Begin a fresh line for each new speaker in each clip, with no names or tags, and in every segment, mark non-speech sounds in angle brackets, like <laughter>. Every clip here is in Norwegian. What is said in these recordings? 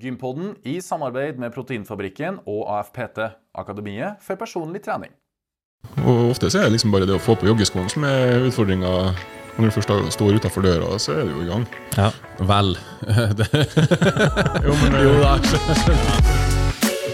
Gympodden i samarbeid med Proteinfabrikken og AFPT, Akademiet for personlig trening.
Og ofte så er det liksom bare det å få på joggeskoene som er utfordringa. Når du først da står utafor døra, så er du jo i gang.
Ja, vel. Det,
Jo, men
<laughs> jo eh, da, jeg skjønner.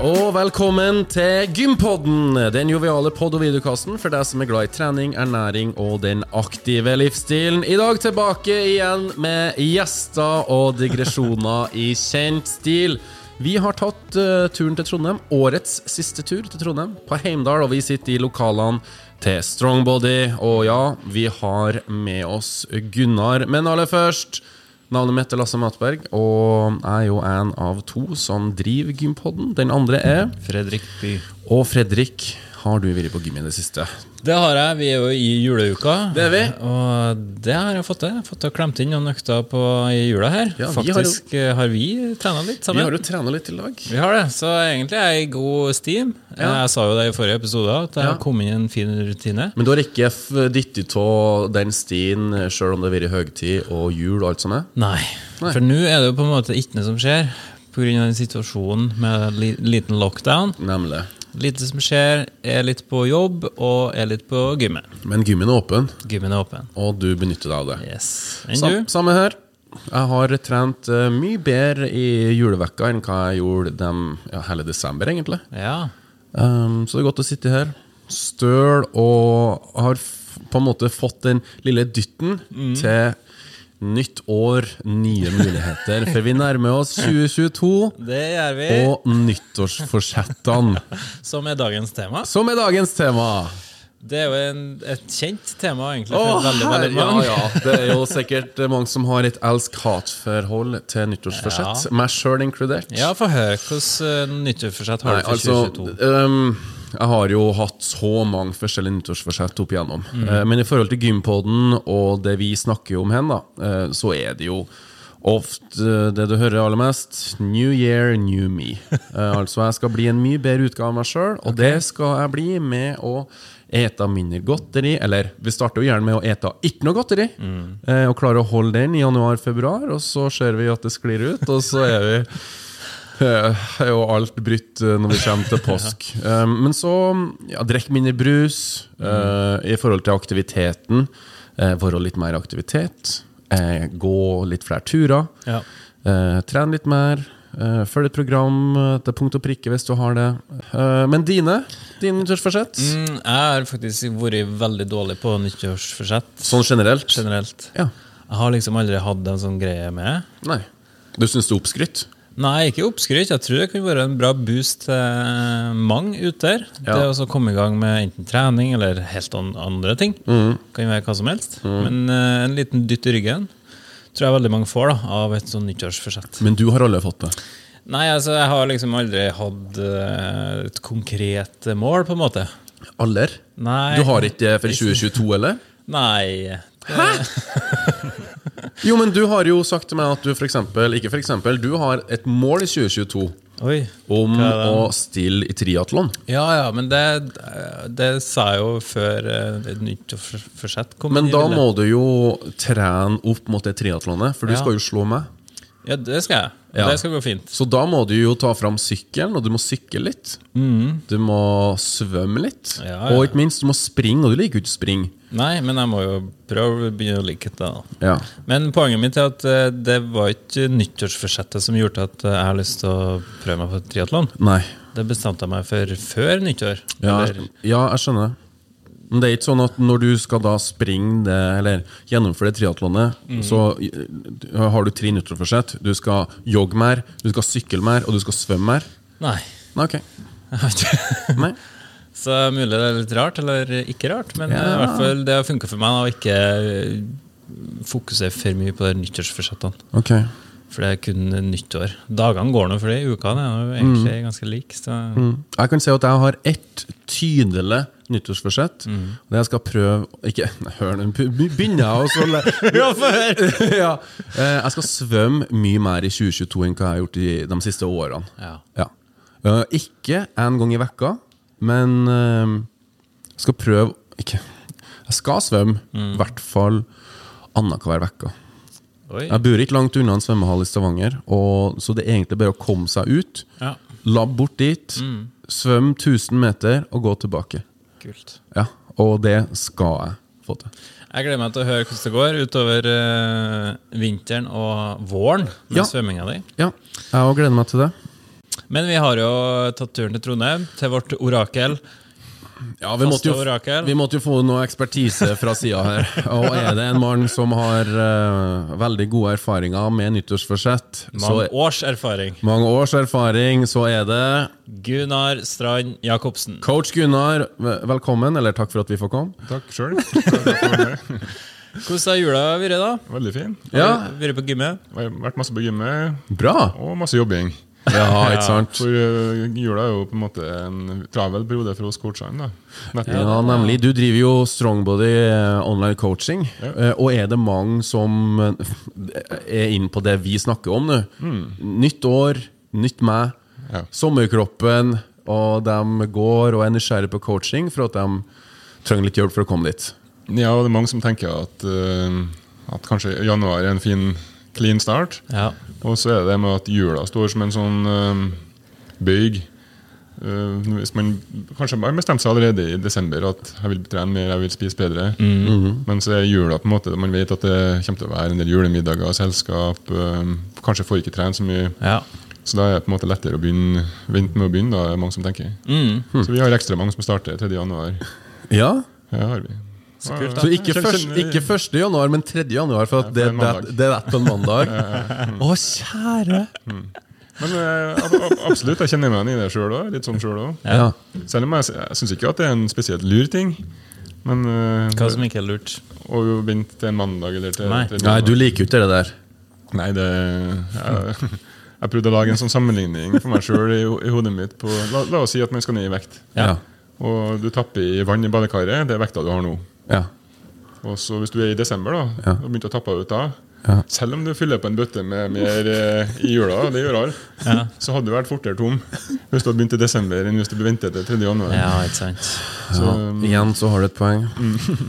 Og velkommen til Gympodden, den joviale pod- og videokasten for deg som er glad i trening, ernæring og den aktive livsstilen. I dag tilbake igjen med gjester og digresjoner i kjent stil. Vi har tatt eh, turen til Trondheim, årets siste tur til Trondheim, på Heimdal, og vi sitter i lokalene til Strongbody. Og ja, vi har med oss Gunnar, men aller først Navnet mitt er Lasse Matberg, og jeg er jo en av to som driver Gympodden. Den andre er
Fredrik By.
Og Fredrik, har du vært på gym i det siste?
Det har jeg. Vi er jo i juleuka.
Det er vi.
Og det har jeg fått til. Jeg har Fått til å klemt inn noen økter på i jula her.
Ja, vi har jo-
Faktisk eh, har, vi trena litt
Vi
sammen.
har jo trena litt i lag.
Vi har det, så egentlig er jeg i god steam.
Ja.
Jeg sa jo det i forrige episode at jeg
Ja.
har kommet inn i en fin rutine.
Men du har ikke f- dyttet av den stien sjøl om det har vært høgtid og jul og alt som er?
Nei.
Nei.
For nå er det jo på en måte ikke noe som skjer pga. situasjonen med li liten lockdown.
Nemlig.
Lite som skjer, er litt på jobb og er litt på gymmet.
Men gymmen er åpen,
Gymmen er åpen.
og du benytter deg av det.
Yes. Enn
Sam,
du?
samme her. Jeg har trent eh, mye bedre i julevekka enn hva jeg gjorde dem, ja, hele desember, egentlig.
Ja.
Ehm, så det er godt å sitte her. Støl og har f på en måte fått den lille dytten til nytt år, nye muligheter. For vi nærmer oss 2022
Det gjør vi.
og nyttårsforsettene,
Som er dagens tema.
som er dagens tema.
Det er jo en, et kjent tema, egentlig.
Å,
For veldig, veldig
herre-
mange.
ja, ja. Det er jo sikkert mange som har et elsk-hat-forhold til nyttårsforsett, meg sjøl inkludert.
Ja, få høre hvordan uh, nyttårsforsett har
Nei,
du for
altså
2022.
øhm, Jeg har jo hatt så mange forskjellige nyttårsforsett opp igjennom. Eh, men i forhold til gympodden og det vi snakker om hen, da, eh, så er det jo ofte eh, det du hører aller mest. New year, new me. Eh, altså, jeg skal bli en mye bedre utgave av meg sjøl, og det skal jeg bli med å Eta mindre godteri, eller vi starter jo gjerne med å eta ikke noe godteri. eh, Og klare å holde den i januar-februar, og så ser vi at det sklir ut, og så er vi Eh, er jo alt brytt eh, når vi kommer
<laughs>
til påsk. Eh, Men så ja, drikk mindre brus eh, i forhold til aktiviteten. eh, Være litt mer aktivitet. eh, Gå litt flere turer.
Ja.
eh, Tren litt mer. eh, Følg et program eh, til punkt og prikke hvis du har det. Eh, Men dine? Dine nyttårsforsett?
Mm, jeg har faktisk vært veldig dårlig på nyttårsforsett
Sånn generelt?
generelt.
Ja.
Jeg har liksom aldri hatt en sånn greie med.
Nei. Du syns det er oppskrytt?
Nei, ikke oppskrytt. Jeg tror det kan være en bra boost til eh, mange ute der.
Ja.
Det å så komme i gang med enten trening eller helt an- andre ting.
Mm.
Kan være hva som helst. Men eh, en liten dytt i ryggen tror jeg veldig mange får da, av et sånn nyttårsforsett.
Men du har alle fått det?
Nei, altså, jeg har liksom aldri hatt eh, et konkret mål, på en måte.
Aller?
Nei.
Du har ikke det for 2022, eller?
Nei.
<laughs> Jo, men du har jo sagt til meg at du for eksempel, ikke for eksempel, du har et mål i 2022
Oi.
om
Hva er det?
å stille i triatlon.
Ja, ja, men det, det sa jeg jo før eh, et nyttårsforsett kom.
Men
inn i
da
bildet.
må du jo trene opp mot det triatlonet, for du
Ja.
skal jo slå meg.
Ja, det skal jeg.
Ja.
Det skal gå fint.
Så da må du jo ta fram sykkelen, og du må sykle litt. Du må svømme litt.
Mhm. Ja, ja.
Og ikke minst, du må springe, og du liker jo ikke å springe.
Nei, men jeg må jo prøve å begynne å like det. da.
Ja.
Men poenget mitt er at eh, det var ikke nyttårsforsettet som gjorde at eh, jeg har lyst til å prøve meg på triatlon.
Nei.
Det bestemte jeg meg for før nyttår.
Ja,
Eller-
ja, jeg skjønner. Men det er ikke sånn at når du skal da springe det, eller gjennomføre det triatlonet, så eh, har du tre minutter for sett. Du skal jogge mer, du skal sykle mer, og du skal svømme mer.
Nei.
Nei, ok.
jeg vet ikke.
Nei.
Så mulig det er litt rart, eller ikke rart. Men eh,
Ja.
i hvert fall det har funka for meg da, å ikke eh, fokusere for mye på de nyttårsforsettene.
Ok.
For det er kun nyttår. Dagene går nå for det, ukene er jo egentlig
Mm.
ganske like. Så
Jeg kan si at jeg har ett tydelig nyttårsforsett. Og det jeg skal prøve Ikke, <laughs> nei, hør nå, be- begynner jeg å så le-
<laughs> Ja, få høre!
<laughs> ja. Eh, Jeg skal svømme mye mer i 2022 enn hva jeg har gjort i de siste årene.
Ja.
Ja. Eh, ikke en gang i vekka, men eh, skal prøve ikke. Jeg skal svømme, i hvert fall annenhver uke.
Oi.
Jeg bor ikke langt unna en svømmehall i Stavanger, og, så det er egentlig bare å komme seg ut.
Ja.
Labb bort dit, svøm 1000 meter og gå tilbake.
Kult.
Ja, Og det skal jeg få til.
Jeg gleder meg til å høre hvordan det går utover eh, vinteren og våren med
Ja.
svømminga di.
Ja, jeg òg gleder meg til det.
Men vi har jo tatt turen til Trondheim, til vårt orakel.
Ja, vi måtte,
Faste
jo,
orakel.
vi måtte jo få noe ekspertise fra sida her.
<laughs>
Og er det en mann som har eh, veldig gode erfaringer med nyttårsforsett, så
Mange års erfaring.
mange års erfaring, så er det
Gunnar Strand Jacobsen.
coach Gunnar. Vel- Velkommen, eller takk for at vi får komme.
Takk sjøl. <laughs> Veldig
Hvordan har jula vært, da?
fin.
Ja,
Vært på gymmet?
Det har Vært masse på gymmet,
bra!
og masse jobbing.
Ja,
<laughs>
ikke sant?
For eh, jula er jo på en måte en travel periode for oss coachene. da. Nettopp.
Ja, nemlig. Du driver jo Strongbody eh, online coaching. Eh, Og er det mange som eh, er inne på det vi snakker om nå? Nytt år, nytt meg,
Ja.
sommerkroppen, og de går og er nysgjerrige på coaching for at de trenger litt hjelp for å komme dit.
Ja, og det er mange som tenker at, eh, at kanskje januar er en fin, clean start.
Ja.
Og så er det det med at jula står som en sånn eh, bøyg. Eh, hvis man kanskje har bestemt seg allerede i desember at jeg vil trene mer, jeg vil spise bedre. Men så er jula på en måte man vet at det kommer til å være en del julemiddager og selskap. eh, kanskje får ikke trene så mye.
ja.
Så da er det på en måte lettere å begynne, vente med å begynne, da, er det mange som tenker. Så vi har ekstra mange som starter 3. januar.
Ja,
Ja, har vi.
Så kult, da.
Så ikke,
Kjenner-
først,
kjenner-
ikke 1. januar, men 3. januar, for
Ja,
at
for
det,
en
det,
mandag.
det er rett på en mandag. Å, kjære!
Men eh, ab ab absolutt, jeg kjenner meg igjen i det sjøl òg. Litt sånn selv også.
Ja.
Selv om jeg, s- jeg syns ikke at det er en spesielt lur ting. Men eh,
Hva som ikke er lurt.
å jo vente til en mandag eller til
Nei.
til
Nei,
mandag.
du liker jo ikke det der.
Nei, det jeg, jeg prøvde å lage en sånn sammenligning for meg sjøl i, ho- i hodet mitt. På, la, la oss si at man skal ned i vekt.
Ja.
Og du tapper i vann i badekaret. Det er vekta du har nå.
Ja.
Og så Hvis du er i desember da,
Ja.
og begynte å tappe ut da
Ja.
Selv om du fyller på en bøtte med mer eh, i jula, og det gjør alle,
Ja.
så hadde du vært fortere tom hvis du hadde begynt i desember enn hvis du ventet til 3. januar.
ja, ikke sant.
Så, um,
ja. Igjen så har du et poeng.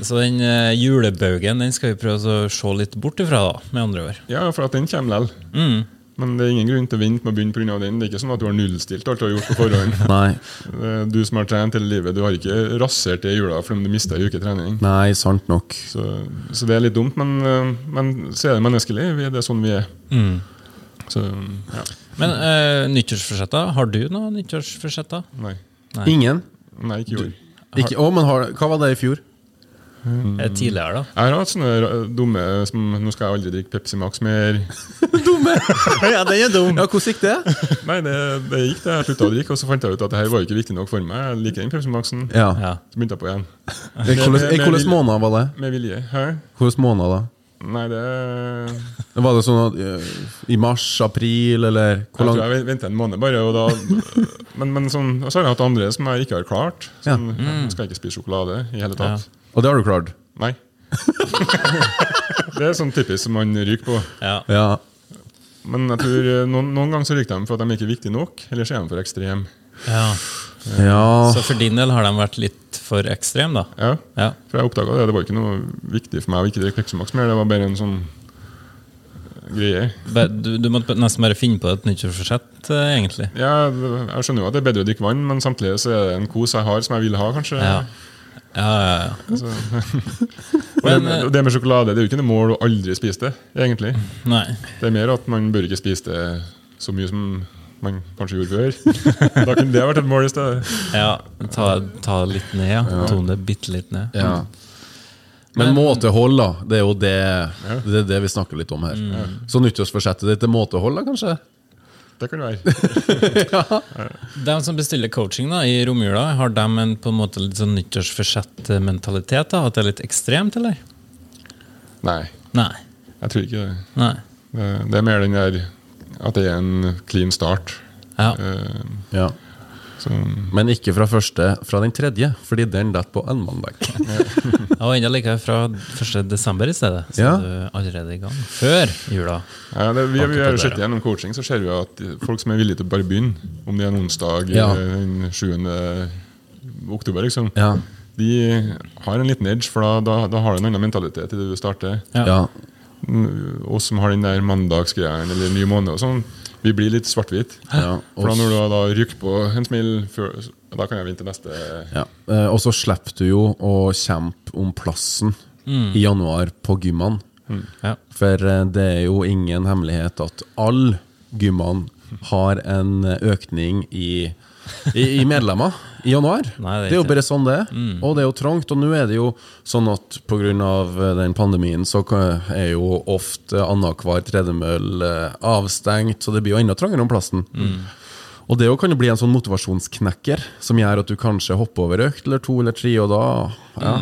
Så den eh, julebaugen den skal vi prøve å se litt bort ifra, da, med andre ord.
ja, for at den kommer lell. Men det er ingen grunn til å vente med å begynne pga. den. Det er ikke sånn at du har nullstilt alt du har gjort på <laughs> forhånd.
Nei.
Eh, Du som har trent hele livet, du har ikke rasert det i jula fordi om du mista ei uke trening.
Nei, sant nok.
Så, så det er litt dumt, men, eh, men så er det menneskelig. Vi- Det er sånn vi er. Så ja.
Men eh, nyttårsforsetter, har du noe nyttårsforsetter?
Nei.
Nei.
Ingen?
Nei, ikke i år.
Ikke, å, men har, hva var det i fjor?
Eh, Tidligere, da?
Jeg har hatt sånne ra- dumme som Nå skal jeg aldri drikke Pepsi Max mer.
<laughs> ja, den er dum!
Ja, Hvordan gikk det?
<laughs> Nei, det, det gikk, det. Jeg slutta å drikke, og så fant jeg ut at det her var ikke viktig nok for meg. Jeg liker den Pepsi Maxen.
Ja.
Ja.
Så begynte jeg på igjen.
Eh, Hvordan eh, hvordan måned var det?
Med vilje. Hæ?
Hvordan måned da?
Nei, det Jeg
Var det sånn at eh, i mars, april, eller hvor
tror
lang
jeg venta en måned, bare. Og da, <laughs> men, men sånn, og så har jeg hatt andre som jeg ikke har klart.
Ja.
Sånn, jeg Skal ikke spise sjokolade i hele tatt.
Og det har du klart?
Nei. <laughs> det er sånn typisk som man ryker på.
Ja.
Ja.
Men jeg tror eh, noen, noen ganger så ryker de for at de ikke er viktige nok, eller så er de for ekstreme.
ja.
ja.
Så for din del har de vært litt for ekstreme, da?
Ja.
Ja.
For jeg oppdaga det. Det var ikke noe viktig for meg å ikke drikke Pepsi Max mer. Det var bare en sånn eh, greie.
Bare- Du, du måtte nesten bare finne på et nyttårsforsett, eh, egentlig.
Ja, det- jeg skjønner jo at det er bedre å drikke vann, men samtidig så er det en kos jeg har som jeg vil ha, kanskje.
Ja, ja, ja. ja.
Og det,
Men, eh,
med, og det med sjokolade det er jo ikke noe mål å aldri spise det, egentlig.
Nei.
Det er mer at man bør ikke spise det så mye som man kanskje gjorde før. <laughs> da kunne det vært et mål i stedet.
Ja, ta, ta det litt ned, ja. Tone det bitte litt ned.
ja. Men måtehold, da. Det er jo det, det, er det vi snakker litt om her. Så nyttårsforsettet ditt er måtehold, da, kanskje?
Det kan det være.
De som bestiller coaching da, i romjula, har de en på en måte litt sånn nyttårsforsett-mentalitet? da? At det er litt ekstremt, eller?
Nei,
Nei.
jeg tror ikke det.
Nei.
Det- Det er mer den der at det er en clean start.
Ja.
Eh,
Ja.
Så
Men ikke fra første, fra den tredje, fordi den detter på en mandag.
Og enda liker jeg fra 1. desember i stedet. Så
Ja.
du er allerede i gang. Før jula.
Ja, det, vi, vi har
Banker
jo
på
sett
døra.
gjennom coaching, så ser vi jo at folk som er villige til å bare begynne, om det er en onsdag
Ja.
eh, den 7. oktober, liksom,
Ja.
de har en liten edge, for da, da, da har du en annen mentalitet i det du starter.
Ja.
Ja.
Mm, Oss som har den der mandagsgreien eller ny måned og sånn, vi blir litt svart-hvit.
Ja,
For da
oss-
når du har da rykker på en smil før, Da kan jeg vinne til neste
Ja. Eh, Og så slipper du jo å kjempe om plassen i januar på gymmene.
Ja.
For eh, det er jo ingen hemmelighet at alle gymmene har en eh, økning i, i, i medlemmer i januar.
<laughs> Nei,
det, er
det er
jo
ikke. Mm.
bare sånn det er. Og det er jo trangt. Og nå er det jo sånn at pga. eh, den pandemien så kan- er jo ofte annenhver tredemøll eh, avstengt, så det blir jo enda trangere om plassen.
Mm.
Og det jo kan jo bli en sånn motivasjonsknekker som gjør at du kanskje hopper over økt eller to eller tre, og da ja,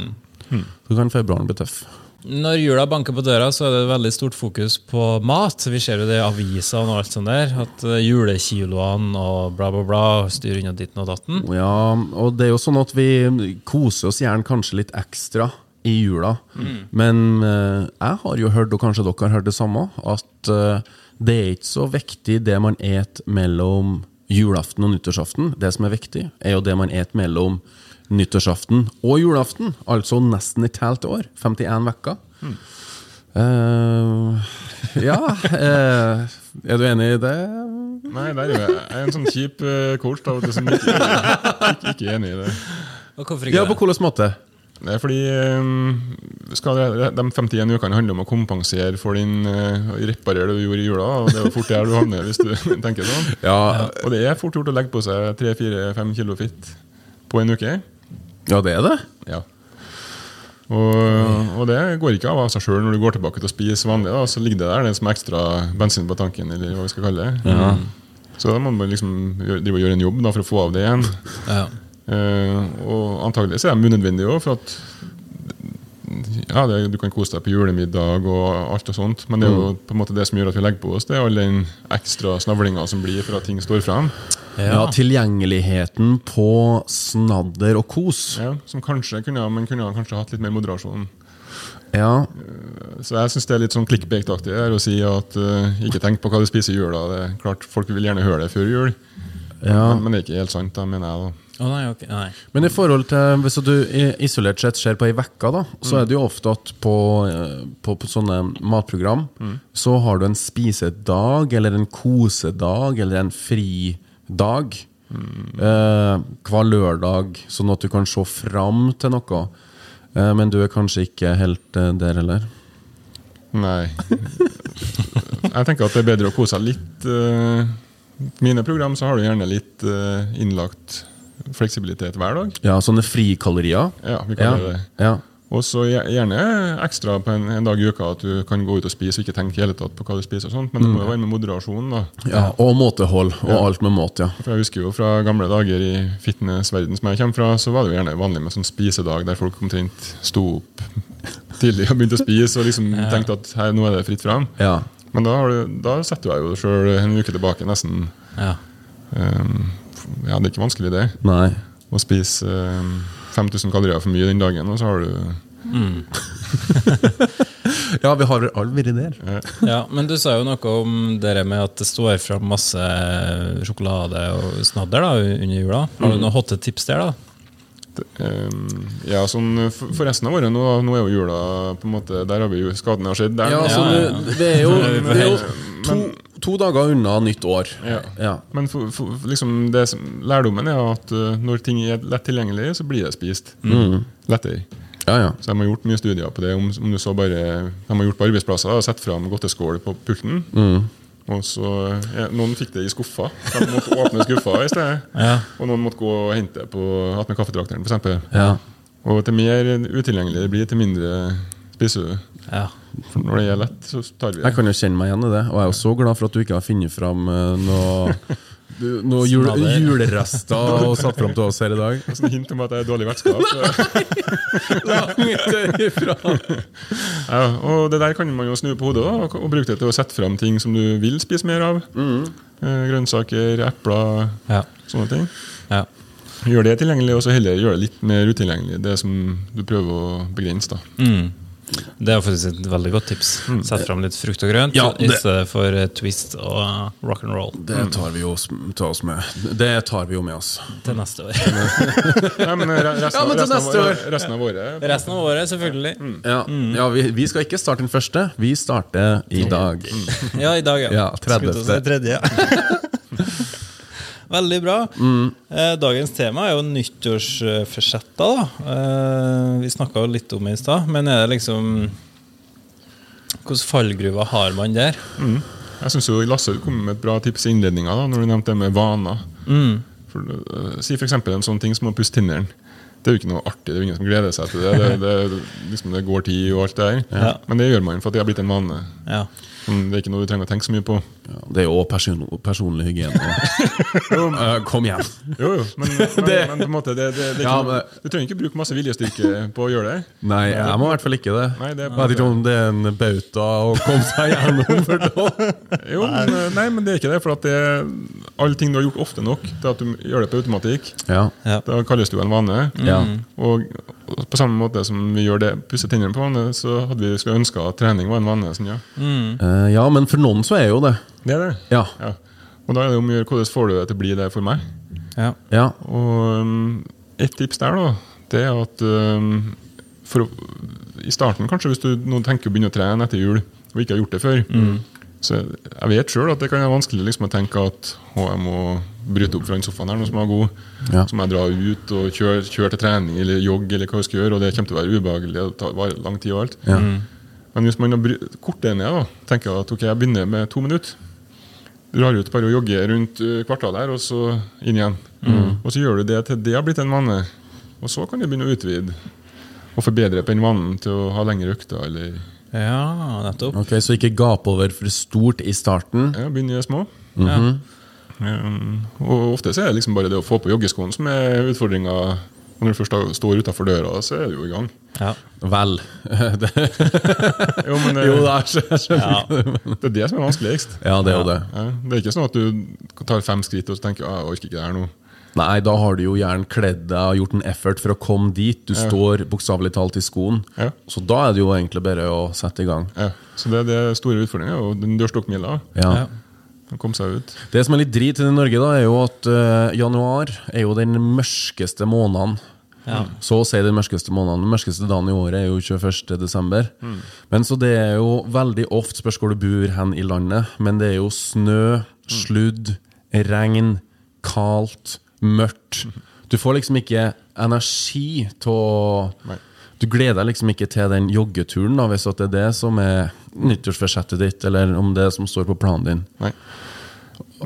Mm.
Så kan februaren bli tøff.
Når jula banker på døra, så er det veldig stort fokus på mat. Vi ser jo det i aviser og alt sånt der, at eh, julekiloene og bla, bla, bla styrer unna ditten og datten.
Ja, og det er jo sånn at vi koser oss gjerne kanskje litt ekstra i jula. Men eh, jeg har jo hørt, og kanskje dere har hørt det samme, at eh, det er ikke så viktig det man et mellom julaften og nyttårsaften. Det som er viktig, er jo det man et mellom nyttårsaften og julaften. Altså nesten et helt år. 51 uker. Eh, ja eh, Er du enig i det?
Nei, der er jeg. jeg er en sånn kjip uh, coach. Da, liksom, ikke, ikke, ikke enig i det.
Og hvorfor
Ja,
ikke
på
det?
hvilken måte?
Det er fordi eh, skal det, De 51 ukene handler om å kompensere for din eh, reparere det du gjorde i jula. Og Det er jo fort der du havner hvis du <laughs> tenker sånn.
Ja,
Og det er fort gjort å legge på seg 3-4-5 kilo fitt på en uke.
ja det er det.
Ja. Og, og det går ikke av av seg sjøl når du går tilbake til å spise vanlig. Da, så ligger det der det som er ekstra bensin på tanken, eller hva vi skal kalle det. Så da må man liksom gjøre- drive og gjøre en jobb da, for å få av det igjen.
Ja.
Eh, og antageligvis er de unødvendige òg, for at ja, det, du kan kose deg på julemiddag og alt og sånt, men det er jo på en måte det som gjør at vi legger på oss, det er all den ekstra snavlinga som blir for at ting står frem.
Ja, tilgjengeligheten på snadder og kos.
Ja, som kanskje kunne, man kunne ha kanskje hatt litt mer moderasjon.
Ja,
Så jeg syns det er litt sånn clickbait-aktig her å si at eh, ikke tenk på hva du spiser i jula. Det er klart, Folk vil gjerne høre det før jul,
ja.
men, men det er ikke helt sant, da, mener jeg. da.
Å nei, ok. Nei.
Men i forhold til hvis du i- isolert sett ser på ei uke, da, så er det jo ofte at på, eh, på, på sånne matprogram så har du en spisedag eller en kosedag eller en fridag eh, hver lørdag, sånn at du kan se fram til noe. Eh, men du er kanskje ikke helt eh, der heller. <laughs>
Nei. Jeg tenker at det er bedre å kose seg litt. eh, mine program så har du gjerne litt eh, innlagt fleksibilitet hver dag.
Ja, sånne frikalorier.
Ja, vi
Ja,
kaller det det.
ja.
Og så gje- gjerne ekstra på en, en dag i uka at du kan gå ut og spise og ikke tenke i hele tatt på hva du spiser, og sånt, men det
Mm.
må jo være med moderasjon. da.
ja. Og måtehold, og alt med måte, ja.
For jeg husker jo Fra gamle dager i fitnessverden som jeg kommer fra, så var det jo gjerne vanlig med sånn spisedag der folk omtrent sto opp tidlig og begynte å spise og liksom tenkte at her, nå er det fritt fram.
Ja.
Men da, har du, da setter jeg jo sjøl en uke tilbake, nesten.
Ja.
ehm, ja, det er ikke vanskelig, det.
Nei.
Å spise ehm, 5000 kalorier for mye den dagen, og så har du
Ja, vi har all vært der.
ja, Men du sa jo noe om det der med at det står fram masse eh, sjokolade og snadder da, under jula. Har
Mm.
du noen hotte tips der, da?
ehm, Ja, sånn for for resten av året nå, nå er jo jula på en måte Der har vi jo skaden har skjedd. Der,
Ja, altså,
ja, ja.
Det, det er
<laughs>
jo, det er jo to, to dager unna nytt år.
Ja.
Ja.
Men for, for, liksom det som, lærdommen er at eh, når ting er lett tilgjengelig, så blir det spist. Lettere.
Ja, ja.
Så de har gjort mye studier på det. Om, om du så bare, de har gjort på arbeidsplasser og satt fram godteskål på pulten. Og så, ja, Noen fikk det i skuffa. De måtte åpne skuffa i stedet.
Ja.
Og noen måtte gå og hente det på attmed kaffetrakteren, f.eks.
Ja.
Og til mer utilgjengelig det blir, til mindre spiser du.
Ja.
For når det er lett, så tar vi
Jeg
det.
kan jo kjenne meg igjen i det, og jeg er jo så glad for at du ikke har funnet fram eh, noe du- noe jule,
Snadder.
julerester og satt fram til oss her i dag.
Det er sånn hint om at jeg er dårlig vertskap. så-
<laughs> Langt ifra.
Ja, og det der kan man jo snu på hodet da, og, og bruke det til å sette fram ting som du vil spise mer av.
Mm.
Eh, grønnsaker, epler,
Ja.
sånne ting.
ja.
<laughs>
Gjør det tilgjengelig, og så heller gjør det litt mer utilgjengelig. Det som du prøver å begrense. da.
Mm. Det er faktisk et veldig godt tips. Sett fram litt frukt og grønt
Mm. Ja,
i
det-
stedet for eh, Twist og eh, rock and roll
Det tar vi jo s- tar oss med. Det tar vi jo med oss.
til
<laughs>
neste år.
Nei, men re- resten,
Ja, men
av- resten,
til
av,
neste år.
resten av året
Resten av året, selvfølgelig.
Ja,
Mm.
ja vi, vi skal ikke starte den første. Vi starter i dag.
Ja, i dag, ja.
Ja, 30..
Skulle til å si tredje, ja. <laughs> Veldig bra. Eh, Dagens tema er jo nyttårsforsetter. da. Eh, Vi snakka jo litt om det i stad, men er det liksom Hvilke fallgruver har man der?
Jeg syns Lasse kom med et bra tips i innledninga da, når du nevnte det med vaner.
Mm.
For, øh, si f.eks. en sånn ting som å pusse tennene. Det er jo ikke noe artig, det er jo ingen som gleder seg til det. Det, det, liksom, det går tid og alt det der.
Ja.
Men det gjør man for at det har blitt en vane.
Ja.
Sånn, Det er ikke noe du trenger å tenke så mye på.
Ja, det er jo også person, personlig
<laughs>
hygiene. Eh, Kom igjen.
Jo, jo,
<laughs>
men, men, men på en måte, det, det, det er ikke
Ja,
noe-
men-
du trenger ikke bruke masse viljestyrke på å gjøre det.
Nei, jeg må i hvert fall ikke det.
Nei, det er
jeg vet ikke om det er en bauta å komme
<laughs>
seg gjennom. for da-
Jo, men, øh, nei, men det er ikke det. For at det, alle ting du har gjort ofte nok til at du gjør det på automatikk,
Ja.
Ja.
da kalles det jo en vane.
Ja.
Og på samme måte som vi gjør det, pusse tennene på vane, så hadde vi skulle ønske at trening var en vane. Sånn, ja.
Eh, ja, men for noen så er jo det.
Det er det.
Ja.
Ja. Og da er det om å gjøre hvordan får du det til å bli det for meg.
ja.
ja.
Og um, et tips der, da, det er at um, for, å- I starten, kanskje, hvis du nå tenker å begynne å trene etter jul og ikke har gjort det før
Mm.
Så Jeg vet sjøl at det kan være vanskelig liksom, å tenke at å, jeg må bryte opp fra den sofaen her nå som er god.
Ja.
Så må jeg dra ut og kjøre, kjøre til trening eller jogge eller hva jeg skal gjøre, og det kommer til å være ubehagelig og ta var- lang tid og alt.
Ja.
Men hvis man da bry- korter ned da, tenker jeg at ok, jeg begynner med to minutter. Drar ut bare og jogger rundt eh, kvartalet her, og så inn igjen.
Mm.
Og så gjør du det til det har blitt en vane. Og så kan du begynne å utvide og forbedre på den vanen til å ha lengre økter. Eller
ja, nettopp.
Ok, Så ikke gap over for stort i starten.
ja, begynne i det små.
Ja. Mm.
Um, og ofte så er det liksom bare det å få på joggeskoen som er utfordringa. Og Når du først da står utafor døra, så er du jo i gang.
Ja.
Vel. <laughs> Det,
Jo,
<laughs>
men det,
jo, det er så- jeg skjønner.
Ja.
<laughs> det er det som er vanskeligst.
Ja, det er jo det.
Ja, det er ikke sånn at du tar fem skritt og så tenker ah, jeg orker ikke det her nå.
Nei, da har du jo gjerne kledd deg og gjort en effort for å komme dit. Du står bokstavelig talt i skoen.
Ja.
Så da er det jo egentlig bare å sette i gang.
Ja, så det, det er store utfordringer, og den dørstokkmila
Ja.
Ja.
den kom seg ut.
Det som er litt drit i det i Norge, da, er jo at eh, januar er jo den mørkeste måneden.
Ja.
Så å si den mørkeste måneden. Den mørkeste dagen i året er jo 21. desember. Men så det er jo veldig ofte spørs hvor du bor hen i landet, men det er jo snø, sludd, regn, kaldt, mørkt. Du får liksom ikke energi til å
Nei.
Du gleder deg liksom ikke til den joggeturen, da, hvis at det er det som er nyttårsforsettet ditt, eller om det er som står på planen din.
Nei.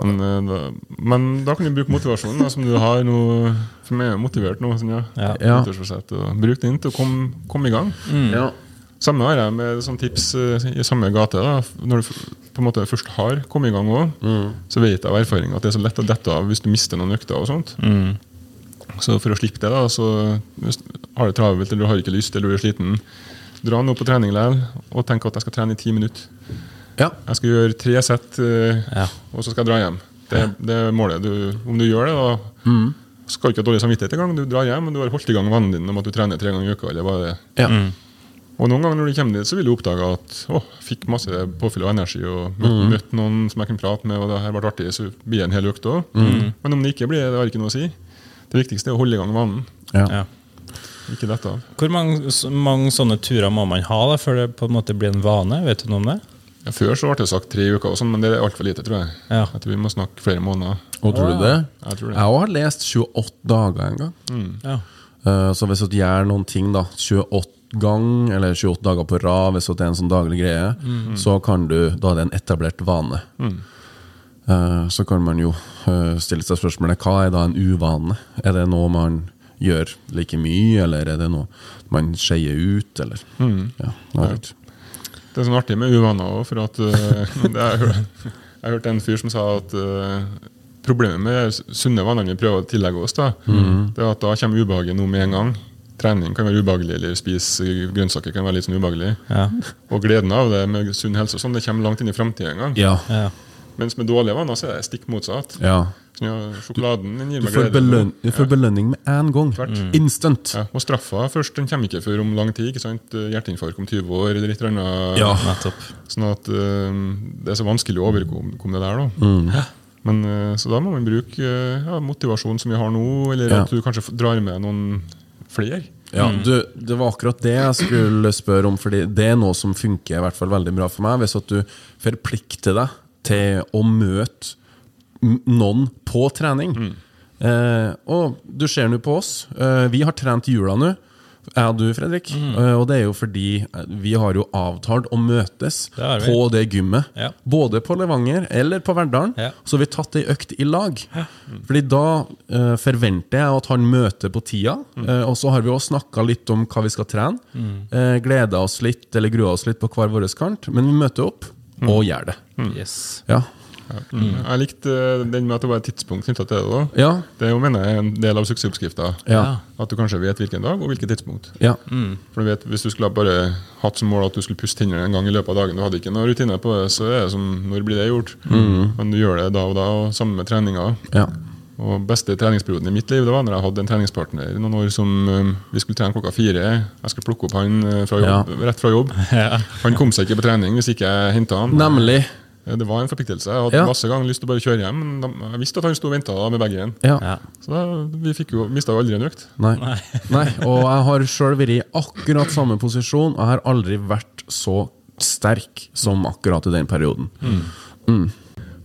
Men, eh, da, men da kan du bruke motivasjonen da, som du har nå. For meg er jeg motivert nå. Sånn, ja.
Ja.
Ja. Mm.
Nyttårsforsett, og Bruk den til å komme komme i gang.
Ja.
Samme har jeg med sånn tips eh, i samme gate. da Når du f- på en måte først har kommet i gang òg, så vet jeg av erfaring at det er så lett å dette av hvis du mister noen økter. og sånt Så for å slippe det, da så hvis du har det travelt eller du har ikke lyst eller du er sliten, dra nå på trening likevel og tenk at jeg skal trene i ti minutter.
ja.
Jeg skal gjøre tre sett, eh,
Ja.
og så skal jeg dra hjem. Det, det er målet. Du, om du gjør det, da
Mm.
skal du ikke ha dårlig samvittighet engang. Du drar hjem, og du har holdt i gang vanen din om at du trener tre ganger i uka. eller hva det er.
Ja.
Og noen ganger når du kommer dit, så vil du oppdage at å, jeg fikk masse påfyll av energi og møtte,
Mm.
møtte noen som jeg kunne prate med, og det her ble artig, så blir det en hel økt òg.
Mm.
Men om det ikke blir det, det har ikke noe å si. Det viktigste er å holde i gang vanen,
Ja.
Ja.
ikke dette av.
Hvor mange, s- mange sånne turer må man ha da, før det på en måte blir en vane? Vet du noe om det?
Ja, før så ble det sagt tre uker, og sånn, men det er altfor lite, tror jeg.
Ja.
Jeg tror vi må snakke flere måneder.
Og tror du det?
Jeg tror det.
Jeg har lest 28 dager en gang.
Ja.
Eh, Så hvis du gjør noen ting da 28 gang, eller 28 dager på rad, hvis det er en sånn daglig greie, så kan du, da er det en etablert vane. Eh, Så kan man jo eh, stille seg spørsmålet hva er da en uvane? Er det noe man gjør like mye, eller er det noe man skeier ut, eller Mm. ja, jeg vet ikke.
Det er sånn artig med uvaner òg, for at eh, <laughs> det er, jo- Jeg hørte en fyr som sa at eh, problemet med de sunne vanene vi prøver å tillegge oss, da,
Mm.
det er at da kommer ubehaget nå med en gang. Trening kan være ubehagelig, eller spise grønnsaker kan være litt sånn ubehagelig.
Ja.
Og gleden av det med sunn helse og sånn, det kommer langt inn i framtida en gang.
Ja.
Ja.
Mens med dårlige vaner så er det stikk motsatt.
Ja.
Sånn, ja, sjokoladen den gir
Du
meg
får,
glede.
beløn du får belønning med én gang. Instant.
Ja, og straffa først, den kommer ikke før om lang tid. ikke sant? Hjerteinfarkt om 20 år eller et eller annet.
Ja.
Nettopp.
Sånn at eh, det er så vanskelig å overkomme komme det der, da.
Mm.
Men, eh, så da må man bruke eh, ja, motivasjon som vi har nå, eller
Ja.
at du kanskje f- drar med noen flere.
Ja, du, det var akkurat det jeg skulle spørre om, Fordi det er noe som funker i hvert fall veldig bra for meg. Hvis at du forplikter deg til å møte m- noen på trening.
Mm.
Eh, og du ser nå på oss. Eh, vi har trent i jula nå. Jeg og du, Fredrik.
Mm.
Eh, og det er jo fordi eh, vi har jo avtalt å møtes
Det har vi.
på det gymmet.
Ja.
Både på Levanger eller på Verdalen.
Ja.
Så har vi tatt ei økt i lag. Fordi da eh, forventer jeg at han møter på tida. eh, og så har vi også snakka litt om hva vi skal trene. Uh, Gleda oss litt, eller grua oss litt på hver vår kant. Men vi møter opp, og gjør det.
Yes.
Ja.
Jeg likte eh, den med at det var et tidspunkt knytta til det. da.
Ja.
Det er jo, mener jeg, en del av suksessoppskrifta.
Ja.
At du kanskje vet hvilken dag og hvilket tidspunkt.
ja.
For du vet, Hvis du skulle ha bare hatt som mål at du skulle pusse tennene en gang i løpet av dagen, du hadde ikke noen rutine på det, så er det som når blir det gjort?
Mm.
Men du gjør det da og da, og sammen med treninga.
ja.
Og beste treningsperioden i mitt liv det var når jeg hadde en treningspartner i noen år som øhm, vi skulle trene klokka fire. Jeg skulle plukke opp han øh, fra jobb, rett fra
<laughs>
jobb. Han kom seg ikke på trening hvis ikke jeg henta han. Eh,
Nemlig.
Det var en forpliktelse. Jeg hadde
Ja.
masse ganger lyst til å bare kjøre hjem, men da- jeg visste at han sto og venta med begge igjen.
Ja.
Ja.
Så da, vi fikk jo, mista jo aldri en økt.
Nei. <laughs> Nei. Og jeg har sjøl vært i akkurat samme posisjon. Jeg har aldri vært så sterk som akkurat i den perioden.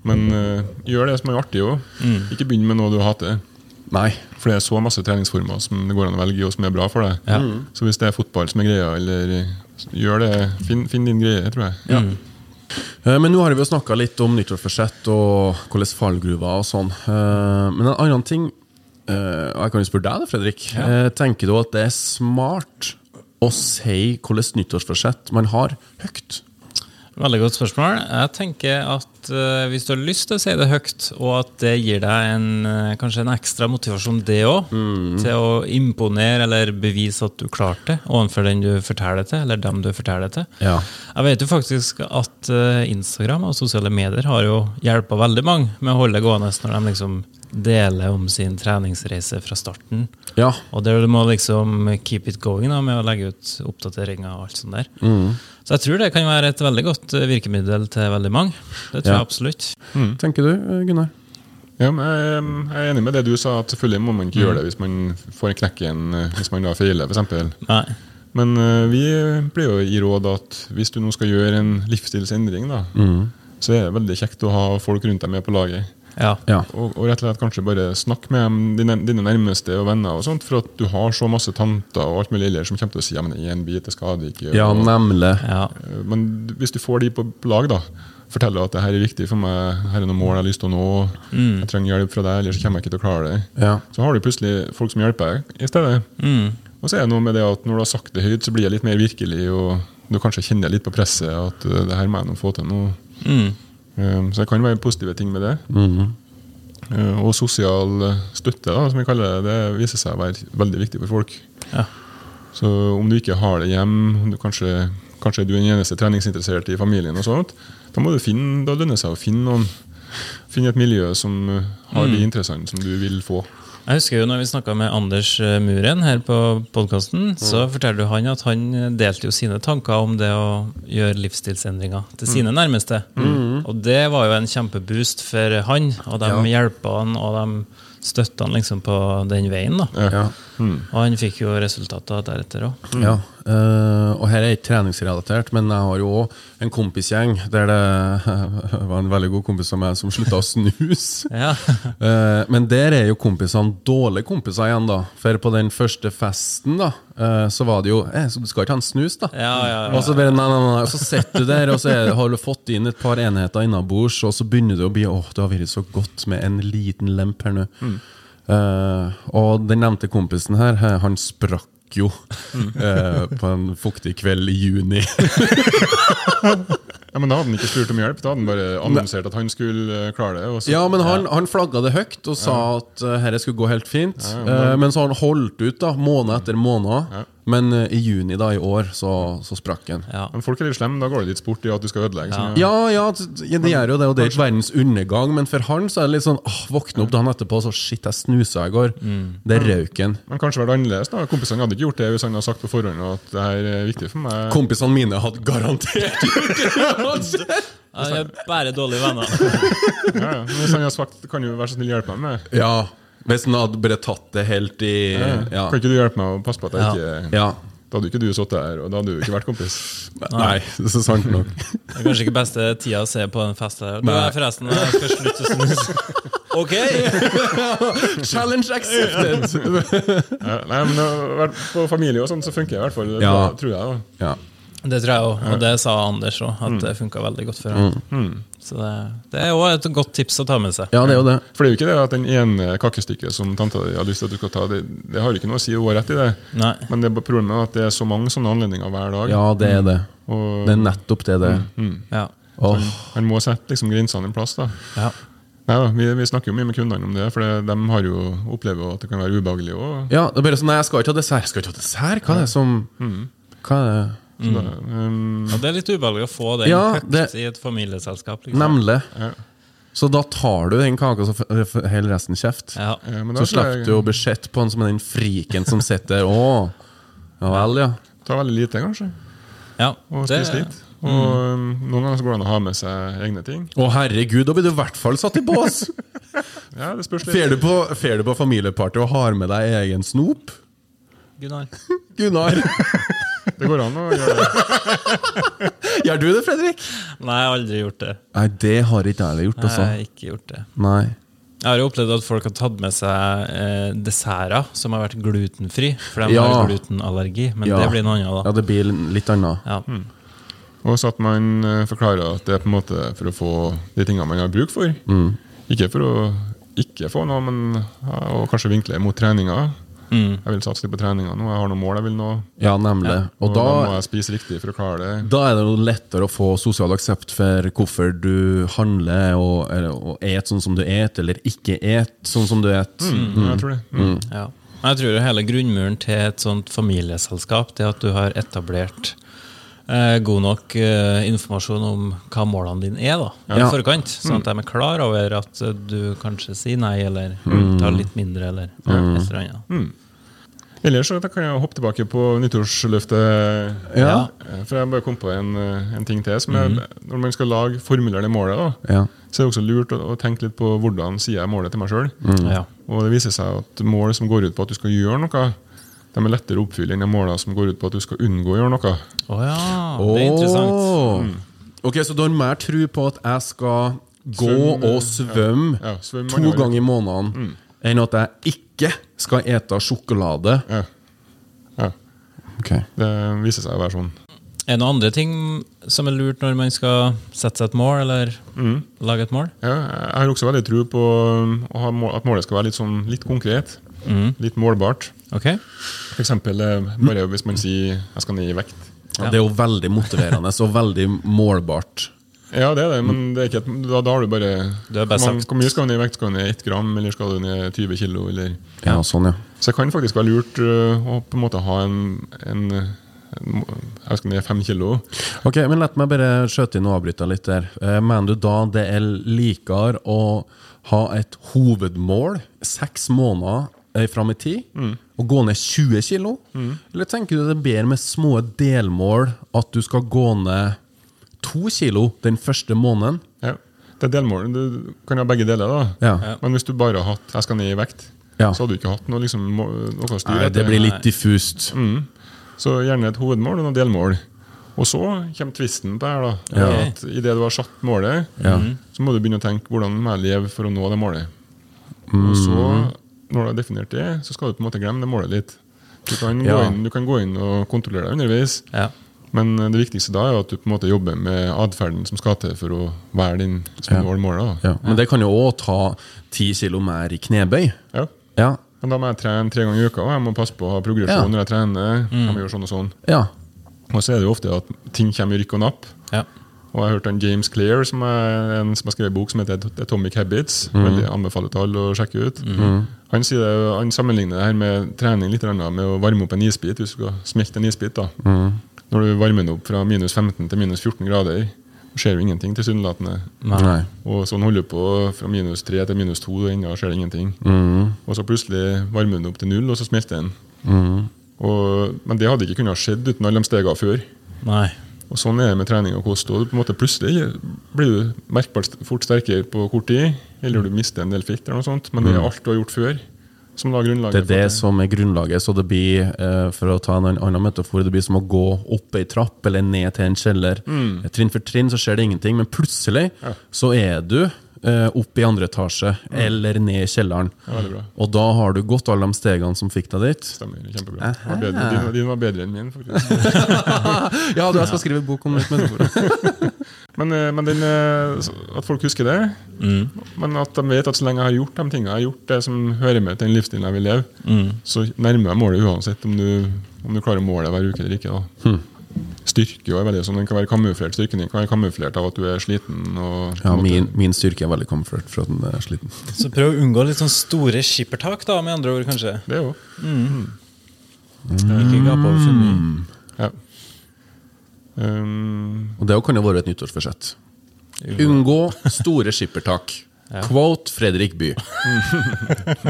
Men øh, gjør det som er artig òg.
Mm.
Ikke begynn med noe du hater.
Nei.
For det er så masse treningsformer som det går an å velge i, og som er bra for deg. Så hvis det er fotball som er greia, eller gjør det, finn, finn din greie, tror jeg.
Eh, Men nå har vi jo snakka litt om nyttårsforsett og hvordan fallgruva og sånn. Eh, Men en annen ting eh, og Jeg kan jo spørre deg, da, Fredrik. Eh, Tenker du at det er smart å si hvordan nyttårsforsett man har, høyt?
Veldig godt spørsmål. Jeg tenker at eh, hvis du har lyst til å si det høyt, og at det gir deg en, eh, kanskje en ekstra motivasjon, det òg, til å imponere eller bevise at du klarte det overfor den du forteller det til, eller dem du forteller det til.
Ja.
Jeg vet jo faktisk at eh, Instagram og sosiale medier har jo hjulpet veldig mange med å holde det gående når de liksom deler om sin treningsreise fra starten.
Ja.
Og der du må liksom keep it going da, med å legge ut oppdateringer og alt sånt der. Så jeg tror det kan være et veldig godt eh, virkemiddel til veldig mange. Det tror
Ja.
jeg absolutt.
Tenker du, eh, Gunnar?
Ja, men jeg, jeg er enig med det du sa, at selvfølgelig må man ikke gjøre det hvis man får en knekk igjen, eh, hvis man da feiler, f.eks.
Nei.
Men eh, vi pleier jo å gi råd at hvis du nå skal gjøre en livsstilsendring, da, så er det veldig kjekt å ha folk rundt deg med på laget.
Ja.
Ja.
Og, og rett og slett kanskje bare snakke med dem, dine, dine nærmeste og venner, og sånt, for at du har så masse tanter og alt mulig ellers som kommer til å si ja, men i en bit, det skader ikke.
ja,
og,
nemlig.
ja.
Eh, Men d- hvis du får de på lag, da forteller at det her er viktig for meg, her er noen mål jeg har lyst til å nå, jeg trenger hjelp fra deg, ellers så kommer jeg ikke til å klare det.
Ja.
Så har du plutselig folk som hjelper deg i stedet.
Mm.
Og så er det noe med det at når du har sagt det høyt, så blir det litt mer virkelig, og du kanskje kjenner litt på presset at eh, det her må jeg nå få til nå.
Mm. Mm-hmm.
Eh, Så det kan være positive ting med det. Eh, Og sosial støtte, da, som vi kaller det, det viser seg å være veldig viktig for folk.
Ja.
Så om du ikke har det hjem, om du kanskje, kanskje du er den eneste treningsinteresserte i familien, og sånt, da må du finne, da lønner det seg å finne noen. Finne et miljø som eh, har
Mm.
de interessene som du vil få.
Jeg husker jo når vi snakka med Anders eh, Muren her på
Mm.
podkasten, så forteller du han at han delte jo sine tanker om det å gjøre livsstilsendringer til
Mm.
sine nærmeste. Og det var jo en kjempeboost for han, og de hjelpa han, og de støtta han liksom på den veien. da.
Ja. Mm.
Ja.
Og han fikk jo resultater deretter òg.
Ja, eh, og her er ikke treningsrelatert, men jeg har jo òg en kompisgjeng der det <laughs> var en veldig god kompis av meg som slutta å snuse.
Ja. <laughs>
Eh, men der er jo kompisene dårlige kompiser igjen, da. For på den første festen da, eh, så var det jo eh, Så du skal ikke ha en snus, da?
Ja, ja, ja.
Og så bare, nei, nei, nei, så sitter du der, og så er, har du fått inn et par enheter innabords, og så begynner du å bli åh, det har vært så godt med en liten lemp her nå.
Mm.
Eh, og den nevnte kompisen her, eh, han sprakk jo
Mm.
eh, på en fuktig kveld i juni.
ja, Men da hadde han ikke spurt om hjelp, da hadde han bare annonsert at han skulle eh, klare det. Og så,
ja, men han, han flagga det høyt og sa at eh, dette skulle gå helt fint. Eh, men så har han holdt ut da, måned etter måned Men eh, i juni da, i år så, så sprakk den.
Ja.
Men folk er litt slemme. Da går det litt sport i at du skal ødelegge. så mye.
Ja, ja, t- ja, det gjør jo det, og det er ikke verdens undergang, men for han så er det litt sånn åh, Våkne opp dagen etterpå, så shit, jeg snusa i går. Det røyk han.
Men kanskje vært annerledes. da Kompisene hadde ikke gjort det hvis han hadde sagt på forhånd at det her er viktig for meg.
Kompisene mine hadde garantert gjort det! uansett.
Jeg er bare dårlige venner.
Ja, ja. Men hvis han hadde sagt kan du være så snill hjelpe meg med
<laughs> Ja, hvis han hadde bare tatt det helt i
ja.
Ja.
Kan ikke du hjelpe meg å passe på at jeg ikke
ja.
Da hadde jo ikke du sittet her, og da hadde du ikke vært kompis.
Nei, <laughs> det er så sant nok.
Det er kanskje ikke beste tida å se på en fest her. Du
Nei.
er forresten jeg skal slutte å snuse.
<laughs>
Ok!
Challenge accepted!
Ja, Nei, men å være på familie og sånn, så funker det i hvert fall. Ja.
Ja.
Tror jeg, da.
Ja.
Det tror jeg òg, og det sa Anders òg,
Mm.
at det funka veldig godt for ham. Så det, det er òg et godt tips å ta med seg.
ja, det er jo det.
For det er jo ikke det at den ene kakestykket som tanta di har lyst til at du skal ta, det, det har jo ikke noe å si, hun har rett i det.
Nei.
Men det er bare problemet er at det er så mange sånne anledninger hver dag.
Ja, det er det.
Og-
Det er nettopp det det er.
Ja.
Åh,
Han må sette liksom grensene en plass. da.
Ja.
Neida, vi, vi snakker jo mye med kundene om det, for det, de har jo opplever jo at det kan være ubehagelig. Og,
Ja, det er bare sånn Nei, jeg skal ikke ha dessert. Jeg skal ikke ha dessert? Hva er det som
Mm.
Hva er det?
så da, um,
Det er litt ubehagelig å få den
Mm. Ja,
høyt
det-
i et familieselskap. Liksom.
Nemlig.
Ja.
Så da tar du den kaka og så f- f- holder resten kjeft.
Ja.
eh, men da
Så
tror
slipper
jeg-
du å bli sett på han som den friken som sitter der. Å, ja vel, ja.
Ta veldig lite, kanskje,
Ja,
og
det-
spise litt. Og um, Noen ganger så går det an å ha med seg egne ting.
Å herregud, da blir du i hvert fall satt i bås!
Ja, det spørs litt.
Fer du på, fer du på familieparty og har med deg egen snop?
Gunnar.
<laughs> Gunnar,
Det går an å gjøre <laughs> det.
gjør du det, Fredrik?
Nei, jeg har aldri gjort det.
Nei, det har ikke jeg heller gjort,
Jeg
altså.
har ikke gjort det.
Nei.
Jeg har jo opplevd at folk har tatt med seg eh, desserter som har vært glutenfri, for de
Ja.
har glutenallergi, men
Ja. Mm.
det blir noe annet,
Ja,
da.
det blir litt annet.
Ja.
Og så at man eh, forklarer at det er på en måte for å få de tingene man har bruk for. Ikke for å ikke få noe, men ja, og kanskje vinkle mot treninga. Jeg vil satse litt på treninga nå, jeg har noen mål jeg vil nå.
Ja, nemlig.
Og
Og
da, må
da,
jeg spise riktig for å klare det.
da er det jo lettere å få sosial aksept for hvorfor du handler og, eller, og et sånn som du et, eller ikke et sånn som du et.
Ja, jeg tror det. Mm.
Ja. Men jeg tror jo hele grunnmuren til et sånt familieselskap det er at du har etablert eh, god nok eh, informasjon om hva målene dine er da, i
Ja.
forkant. Sånn at de er klar over at eh, du kanskje sier nei, eller tar litt mindre, eller et eller annet.
Ellers så da kan jeg hoppe tilbake på nyttårsløftet.
Ja. Mhm.
Eh, For jeg bare kom på en, eh, en ting til. Som er, Når man skal lage formulere det målet, da,
Ja.
så er det også lurt å, å tenke litt på hvordan sier jeg målet til meg sjøl.
Mm.
Ja.
Og det viser seg at mål som går ut på at du skal gjøre noe, de er lettere å oppfylle enn de målene som går ut på at du skal unngå å gjøre noe.
Å ja, det er interessant.
Åh. Mm. Ok, så du har mer tro på at jeg skal gå
Svømme,
og svømme
ja, svømme
to
mange ganger. Mm.
ganger i måneden, enn at jeg ikke skal ete sjokolade.
Ja. Ja.
Ok.
Det viser seg å være sånn.
Er det noen andre ting som er lurt når man skal sette seg et mål, eller lage et mål?
Ja, jeg har også veldig tro på um, å ha mål, at målet skal være litt, sånn, litt konkret.
Mm.
Litt målbart.
Ok?
For eksempel eh, bare hvis man sier 'jeg skal ned i vekt'.
Det er jo veldig motiverende og veldig målbart.
Ja, det er det, men det er ikke et, da, da har du bare
Du har bare
hvor mange-
sagt.
Hvor mye skal du ned i vekt? Skal du ned 1 gram, eller skal du ned 20 kilo? Eller?
Ja, sånn, ja.
Så det kan faktisk være lurt øh, å på en måte ha en, en, en Jeg skal ned 5 kilo.
Ok, men La meg bare skjøte inn og avbryte deg litt der. Eh, Mener du da det er likere å ha et hovedmål seks måneder eh, fram i tid, og gå ned 20 kilo? Eller tenker du det er bedre med små delmål, at du skal gå ned to kilo den første måneden?
Ja. Det er delmål. Du kan ha begge deler. da
Ja.
Men hvis du bare har hatt 'jeg skal ned i vekt',
Ja.
så hadde du ikke hatt noe, liksom, må- noe å styre
Nei, Mm. det
etter.
blir litt diffust.
Så gjerne et hovedmål og noen delmål. Og så kommer tvisten på det her. da Det er
Ja.
at Idet du har satt målet,
Ja.
så må du begynne å tenke 'hvordan må jeg leve for å nå det målet'? Og
Mm.
så, når du har definert det, så skal du på en måte glemme det målet litt. Du kan, gå,
Ja.
inn, du kan gå inn og kontrollere deg underveis,
Ja.
men det viktigste da er jo at du på en måte jobber med atferden som skal til for å være den som
Ja.
når målet. da
Ja. Men det kan jo òg ta ti kilo mer i knebøy.
Ja.
Ja.
Men da må jeg trene tre ganger i uka, og jeg må passe på å ha progresjon
Ja. Mm.
når jeg trener. Jeg må gjøre sånn Og sånn
ja.
Og så er det jo ofte at ting kommer i rykk og napp.
Ja.
Og jeg har hørt en James Clear, som, er en, som har skrevet en bok som heter Atomic Habits. Veldig anbefalet til alle å sjekke ut. Han, sier, det- han sammenligner det her med trening litt grann med å varme opp en isbit. Hvis du skal smelte en isbit da. Når du varmer den opp fra minus 15 til minus 14 grader, skjer jo ingenting tilsynelatende.
Nei.
Og sånn holder du på fra minus 3 til minus 2, og ennå skjer det ingenting. Og så plutselig varmer den opp til null, og så smelter den. Og, men det hadde ikke kunnet skjedd uten alle de stegene før.
Nei.
Og Sånn er det med trening og kost. og du på en måte Plutselig blir du merkbart st- fort sterkere på kort tid, eller du mister en del fett, eller noe sånt, men det er alt du har gjort før, som la
Mm. Det er
grunnlaget
det som er grunnlaget. Så det blir, eh, for å ta en an- annen metafor, det blir som å gå opp ei trapp eller ned til en kjeller. Eh, Trinn for trinn så skjer det ingenting, men plutselig så er du eh, opp i andre etasje eller ned i kjelleren.
veldig bra.
og da har du gått alle de stegene som fikk deg dit.
stemmer. Kjempebra. Det Var bedre. Din, din var bedre enn min, faktisk.
Ja, du, jeg skal skrive bok om litt metaforer.
Men, eh, men den, eh, så- at folk husker det, men at de vet at så lenge jeg har gjort de tingene, jeg har gjort det som hører med til den livsstilen jeg vil leve, så nærmer jeg målet uansett om du, om du klarer målet hver uke eller ikke. da. Styrke jo er veldig sånn, den kan være kamuflert Styrken din kan være kamuflert av at du er sliten. og på
<laughs> Ja,
en måte-
min, min styrke er veldig comfort for at den er sliten.
Så prøv å unngå litt sånn store skippertak, da, med andre ord, kanskje.
Det er jo.
Ikke gap over for mye.
Mm.
Ja. Um,
Og det kan jo være et nyttårsforsett. Unngå store skippertak. Quote Fredrik By.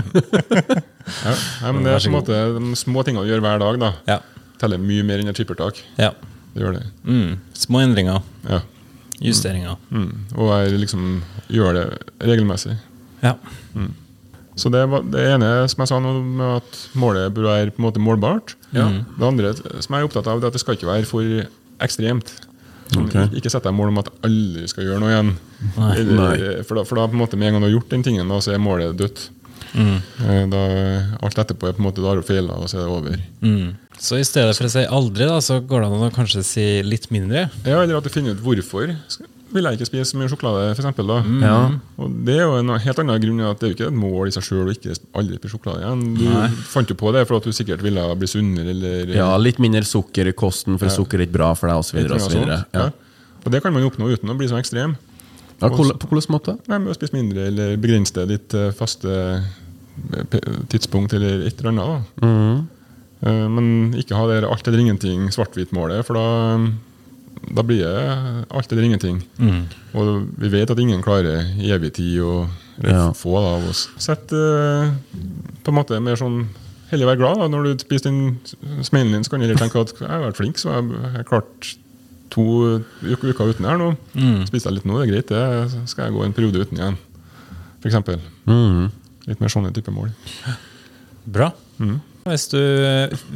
ja. Nei, men det er på en måte de små tingene du gjør hver dag, da,
Ja.
teller mye mer enn et skippertak.
ja.
Det gjør det.
Mm. Små endringer.
Ja.
Justeringer.
Mm. Og jeg liksom gjør det regelmessig.
Ja.
Så det, var- det ene som jeg sa nå med at målet bør være på en måte målbart. Mm. Det andre som jeg er opptatt av, det er at det skal ikke være for ekstremt. Sånn,
Ok.
Ikke sett deg mål om at alle skal gjøre noe igjen. Eller,
Nei.
For, da, for da på en måte med en gang du har gjort den tingen, da, så er målet dødt.
Mm.
Eh, Da, alt etterpå er på en måte da har du feila, og så er det over.
Så i stedet for å si aldri, da, så går det an å kanskje si litt mindre.
Ja, Eller at du finner ut hvorfor vil jeg ikke spise så mye sjokolade. For eksempel, da. Og Det er jo en helt annen grunn enn at det er jo ikke et mål i seg sjøl å ikke aldri spise sjokolade igjen. Du fant jo på det fordi at du sikkert ville bli sunnere eller
Ja, litt mindre sukker i kosten, for sukker er ikke bra for deg, osv.
eller noe
Og, så videre,
sånt.
ja.
Ja. Og det kan man jo oppnå uten å bli så ekstrem.
ja, hvordan- på hvilken måte?
Nei, med å spise mindre eller begrense ditt eh, faste eh, pe- tidspunkt eller et eller annet. Da. Eh, Men ikke ha det der alt eller ingenting svart-hvitt-målet, for da, da blir det alt eller ingenting. Og vi vet at ingen klarer i evig tid, og eller
Ja.
få da, av oss. Sett eh, på en måte mer sånn Heller være glad da, når du spiser den smellen din, så kan du heller tenke at jeg har vært flink, så jeg har klart to uk- uker uten her nå. Spiser jeg litt nå, det er greit, det. Så skal jeg gå en periode uten igjen, f.eks. Litt mer sånne type mål.
Bra.
Mm.
Hvis du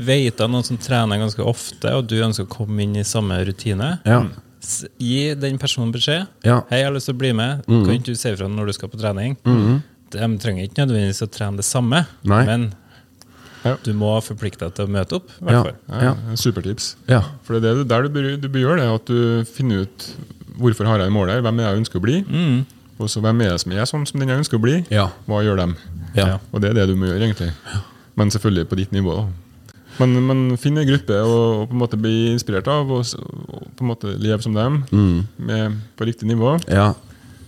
vet av noen som trener ganske ofte, og du ønsker å komme inn i samme rutine,
Ja.
s- gi den personen beskjed.
Ja. Mm.
'Hei, jeg har lyst til å bli med. Kan ikke du si ifra når du skal på trening?' De trenger ikke nødvendigvis å trene det samme,
Nei.
men
Ja.
du må forplikte deg til å møte opp. I hvert
Ja.
fall.
Ja,
Ja.
Supertips.
Ja.
For det er det du- der du bør, du bør gjøre, det er at du finner ut hvorfor har jeg det målet her, hvem er jeg ønsker å bli, og så hvem er det som er sånn som den jeg ønsker å bli,
Mm. Ja.
hva gjør dem?
Ja.
Og det er det du må gjøre, egentlig. Men selvfølgelig på ditt nivå. da. Men, men finn en gruppe og, og på en måte bli inspirert av, og, s- og på en måte leve som dem,
Mm.
med, på riktig nivå.
ja.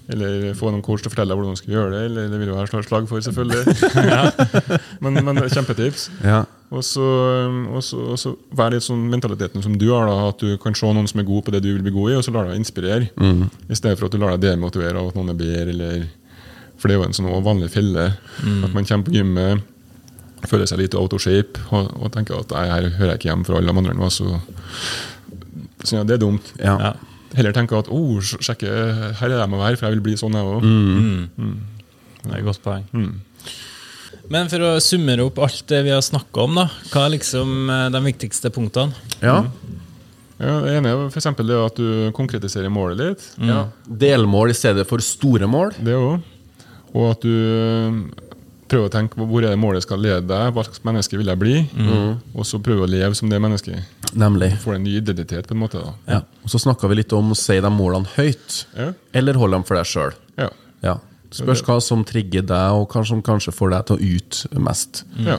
Eller få noen coach til å fortelle deg hvordan du skal gjøre det. Eller det vil jo være slag- slag for,
<laughs>
selvfølgelig. <laughs> men, men det er kjempetips.
ja.
Og så, um, og så, og så vær litt sånn mentaliteten som du har, da, at du kan se noen som er god på det du vil bli god i, og så lar deg inspirere. I stedet for at du lar deg demotivere av at noen er bedre, eller For det er jo en sånn også vanlig felle. At man kommer på gymmet, føler seg litt out of shape og, og tenker at nei, her hører jeg ikke hjemme for alle de andre. nå, Så, så ja, det er dumt.
Ja.
Ja.
Heller tenke at oh, sj- sjekke, her er jeg må være, for jeg vil bli sånn, jeg òg.
Det er et godt poeng. Men for å summere opp alt det vi har snakka om, da, hva er liksom eh, de viktigste punktene?
ja.
Ja, det ene er f.eks. det at du konkretiserer målet litt.
ja. Delmål i stedet for store mål.
Det òg. Og at du øh, prøver å tenke på hvor er det målet skal lede deg, hva slags menneske vil jeg bli? Og så prøve å leve som det mennesket.
Nemlig.
Får en ny identitet, på en måte. da.
Ja. Og så snakka vi litt om å si de målene høyt,
Ja.
eller holde dem for deg sjøl.
Ja.
Ja. Spørs hva som trigger deg, og hva som kanskje får deg til å ut mest.
ja.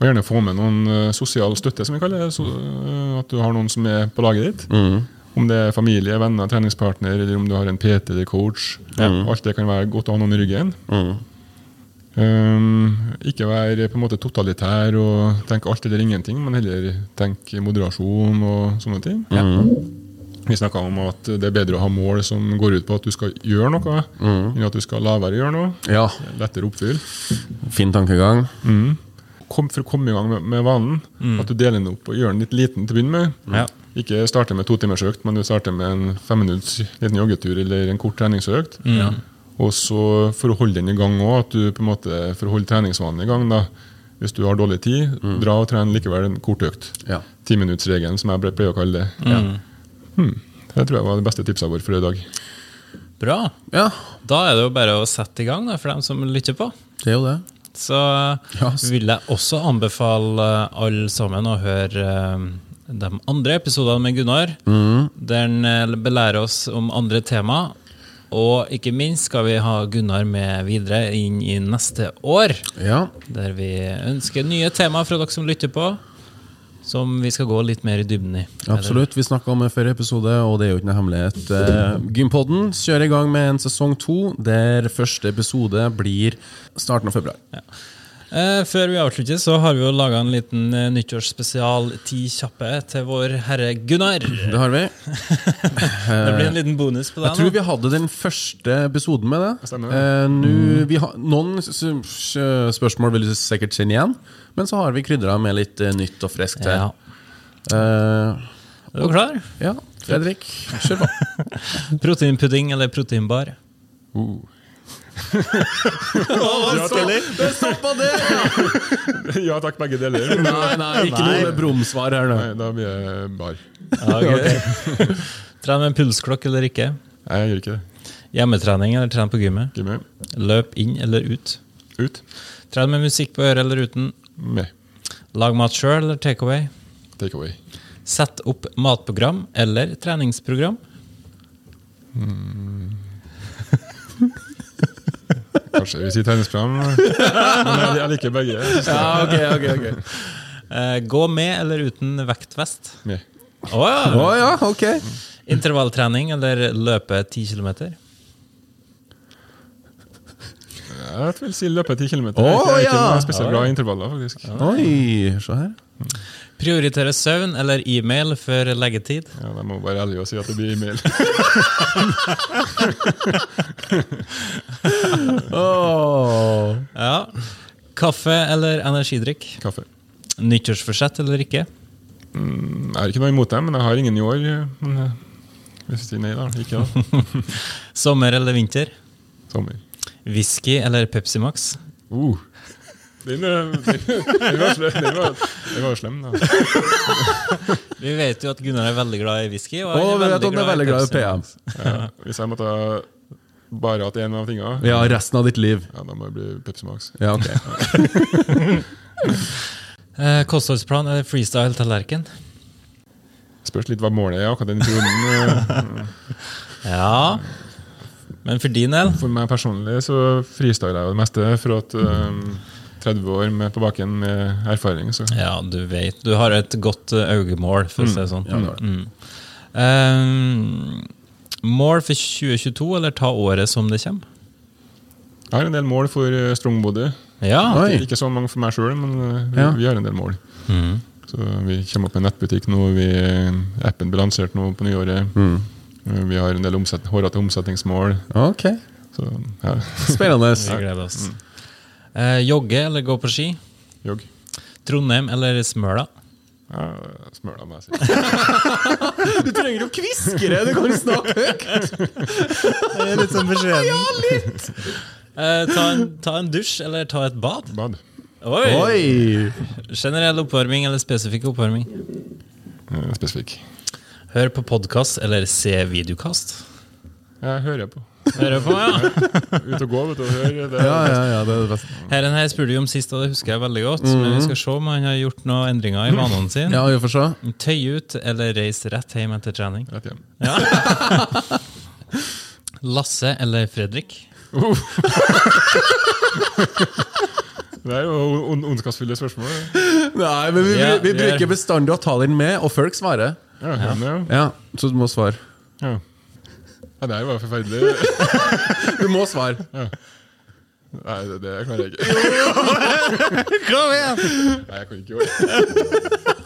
Og gjerne få med noen øh, sosial støtte, som vi kaller det. Så, øh, at du har noen som er på laget ditt. Om det er familie, venner, Mm. treningspartner, eller om du har en PT eller coach. Alt det kan være godt å ha noen i ryggen. Ehm, ikke være på en måte totalitær og tenke alt eller ingenting, men heller tenke moderasjon og sånne ting. Mm. Vi snakka om at det er bedre å ha mål som går ut på at du skal gjøre noe, enn at du skal la være å gjøre noe.
Ja,
Lettere å oppfylle.
fin tankegang.
kom, for å komme i gang med, med vanen. At du deler den opp og gjør den litt liten til å begynne med.
Ja.
Ikke starte med to timers økt, men du starter med en femminutts liten joggetur eller en kort treningsøkt. Og så for å holde den i gang òg, at du på en måte for å holde treningsvanen i gang da, Hvis du har dårlig tid, dra og tren likevel en kort økt.
Ja.
Timinuttsregelen, som jeg ble- pleier å kalle det. Hmm. Det tror jeg var det beste tipset vårt for i dag.
Bra.
Ja,
Da er det jo bare å sette i gang da, for dem som lytter på.
det er jo det.
Så eh,
Ja, s-
vil jeg også anbefale eh, alle sammen å høre eh, de andre episodene med Gunnar. Der han eh, belærer oss om andre tema. Og ikke minst skal vi ha Gunnar med videre inn i neste år.
Ja,
Der vi ønsker nye temaer fra dere som lytter på, som vi skal gå litt mer i dybden i.
Absolutt. Vi snakka om det før i episode, og det er jo ikke noe hemmelighet. Eh, Gympodden kjører i gang med en sesong to, der første episode blir starten av februar.
Eh, Før vi avslutter, så har vi jo laga en liten eh, nyttårsspesial ti kjappe til vår herre Gunnar.
Det har vi.
Det blir en liten bonus på det.
Jeg tror vi hadde den første episoden med det.
Stemmer.
Eh, nu, vi har, noen s- s- spørsmål vil du sikkert kjenne igjen, men så har vi krydra med litt eh, nytt og friskt.
Ja.
her. Eh,
Er du klar?
ja, Fredrik, kjør på.
Proteinpudding eller proteinbar?
Det stoppa det!
<laughs> ja takk, begge deler.
<laughs> Nei, nei, ikke noe brumsvar her, da.
Nei, da blir jeg bar.
<laughs> Tren med pulsklokk eller ikke?
Nei, Jeg gjør ikke det.
Hjemmetrening eller tren på gymmet?
Ikke med.
Løp inn eller ut?
Ut.
Tren med musikk på øret eller uten?
Med.
Lag mat sjøl eller takeaway?
Take away.
Sett opp matprogram eller treningsprogram?
Kanskje vi sier tegningsprogram. Men jeg, jeg liker begge. Så
Ja, ok, ok, ok
Eh, gå med eller uten vektvest?
med.
Å ja!
Å ja, ok.
Intervalltrening eller løpe 10 km?
Jeg vil si løpe 10 km.
Å,
jeg er ikke
ja!
noe spesielt bra i intervaller, faktisk.
Oi, se her.
Prioritere søvn eller e-mail før leggetid?
Ja, jeg må være ærlig og si at det blir e-mail.
Ja. Kaffe eller energidrikk?
Kaffe.
Nyttårsforsett eller ikke?
Jeg har ikke noe imot dem, men jeg har ingen i år. Men eh, hvis jeg sier nei, da. Ikke da.
Sommer eller vinter?
Sommer.
Whisky eller Pepsi Max?
Uh. Den, eh, den, var slem, den, var, den var slem, da.
Vi vet jo at Gunnar er veldig glad i whisky. Og
Å,
han
vi vet at han er veldig glad i
Pepsi
PM.
Max.
Ja, hvis jeg måtte ha bare hatt én av tingene,
Ja, resten av ditt liv.
ja, da må det bli Pepsi Max.
Ja, ok. <laughs>
Eh, kostholdsplan eller freestyle-tallerken?
Spørs litt hva målet er akkurat den perioden. eh,
Ja. Men for din del?
For meg personlig så freestyler jeg jo det meste, for at øhm, 30 år med på baken med erfaring, så
Ja, du vet. Du har et godt eh, øyemål, for å si det sånn.
Ja, det har
Mm. Eh, mål for 2022, eller ta året som det kommer?
jeg har en del mål for øh, Strongbody.
Ja.
Oi.
Ikke så mange for meg sjøl, men øh, vi,
Ja.
vi har en del mål. Så vi kommer opp med nettbutikk nå, vi, appen blir lansert nå på nyåret.
Mm.
Øh, Vi har en del omset, hårete omsetningsmål.
ok
Så ja, <laughs>
<laughs> Spennende.
Vi gleder oss.
Mm.
Eh, jogge eller gå på ski?
jogg.
Trondheim eller Smøla?
Ja, Smøla, må jeg si.
Du trenger jo kviskere! Du kan snakke høyt!
Litt sånn beskjeden. ja, litt! <laughs> Eh, ta, en, ta en dusj eller ta et bad.
Bad.
Oi!
Oi!
Generell oppvarming eller spesifikk oppvarming?
Øh, Spesifikk.
Hør på podkast eller se videokast.
Jeg hører på.
Hører på, ja.
Ut og gå, vet du. og Hør. Det,
Ja, ja, ja, det er det beste.
Herren her spurte jo om sist, og det husker jeg veldig godt. Men vi skal se om han har gjort noen endringer i vanene <laughs> sine.
Ja, vi får se.
Tøy ut eller reis rett hjem etter trening.
Rett hjem.
<laughs> Lasse eller Fredrik?
Det er jo ond- ondskapsfulle spørsmål. det.
Nei, men vi,
Ja,
vi
vi er-
bruker bestandig å ta den med, og folk svarer.
Ja, ja. men ja.
Ja, Så du må svare.
Ja. ja, det her var forferdelig.
Du må svare.
Jeg Nei, det, det klarer jeg ikke.
Kom igjen!
Nei, jeg kan ikke gjøre det.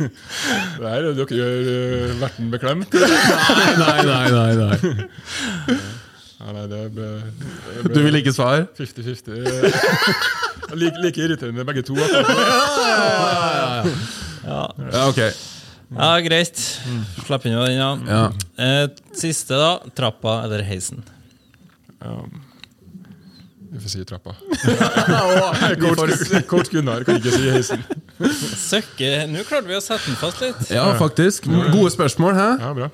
Det her er det dere gjør eh, verten beklemt.
<laughs> Nei, nei, nei. nei.
Nei, nei, det ble, det
Du
ble
vil ikke svare?
50-50. Like, like irriterende begge to. altså.
Ja, ok.
Ja, greit. Slipp unna den, ja. Eh, siste, da. Trappa eller heisen?
Vi får si trappa.
<laughs>
Coach, coach Gunnar kan ikke si heisen.
Søkke, nå klarte vi å sette den fast litt.
Ja, faktisk. Mm. Gode spørsmål, hæ?
Ja, bra.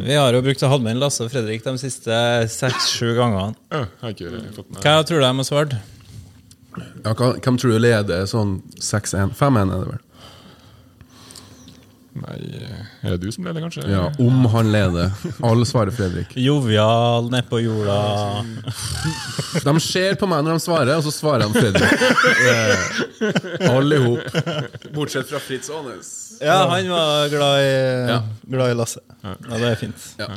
Vi har jo brukt å ha med en Lasse og Fredrik de siste seks-sju gangene.
Ja, jeg har ikke fått den her.
Hva tror du de har svart?
Ja, hva- Hvem tror du leder sånn 6-1? 5-1 er det vel?
Nei, er det du som leder, kanskje?
Ja, Om han leder. Alle svarer Fredrik.
Jovial, nedpå jorda
De ser på meg når de svarer, og så svarer de Fredrik. Eh, Alle i hop. Bortsett fra Fritz Aanes.
Ja, han var glad i,
Ja.
glad i Lasse. Ja, det er fint.
Ja.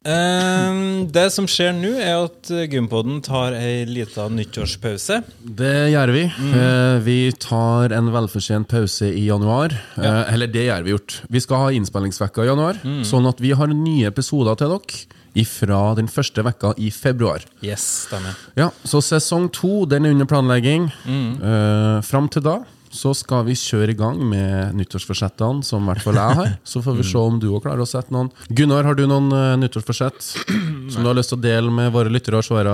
Ehm, det som skjer nå, er at eh, Gympoden tar ei lita nyttårspause.
Det gjør vi. Eh, vi tar en velfortjent pause i januar. Eh, eller det gjør vi gjort. Vi skal ha innspillingsvekka i januar, sånn at vi har nye episoder til dere fra den første vekka i februar.
Yes, stemmer.
Ja, så sesong to den er under planlegging. Eh, Fram til da så skal vi kjøre i gang med nyttårsforsettene, som i hvert fall jeg har. Så får vi se om du òg klarer å sette noen. Gunnar, har du noen eh, nyttårsforsett som du har lyst til å dele med våre lyttere og seere?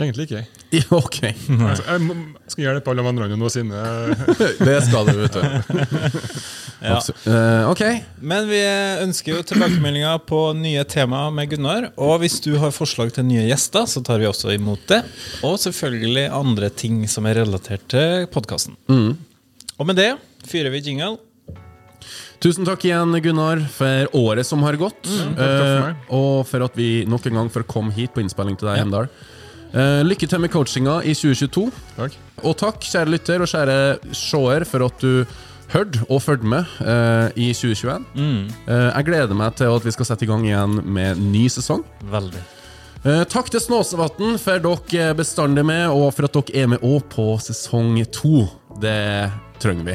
Egentlig ikke.
Ja, ok,
Altså, jeg må- skal hjelpe alle de andre nå sine
<laughs> det skal du, vet du. Absolutt. Eh, ok.
Men vi ønsker jo tilbakemeldinger på nye temaer med Gunnar. Og hvis du har forslag til nye gjester, så tar vi også imot det. Og selvfølgelig andre ting som er relatert til podkasten. Og med det fyrer vi jingle.
Tusen takk igjen, Gunnar, for året som har gått.
for meg.
Eh, og for at vi nok en gang får komme hit på innspilling til deg, Heimdal. Eh, lykke til med coachinga i 2022.
Takk.
Og takk, kjære lytter og kjære seer, for at du hørte og fulgte med eh, i 2021. Eh, jeg gleder meg til at vi skal sette i gang igjen med ny sesong.
Veldig.
Eh, takk til Snåsavatn for dere bestandig med, og for at dere er med òg på sesong to. Det trenger vi.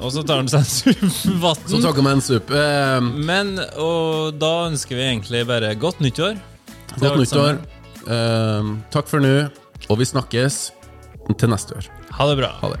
Og så tar han seg en sup
Så
vann.
takk om en sup. Eh,
Men og da ønsker vi egentlig bare godt nyttår.
godt
sånn
nyttår. Eh, takk for nå, og vi snakkes til neste år.
Ha det bra.
Ha det.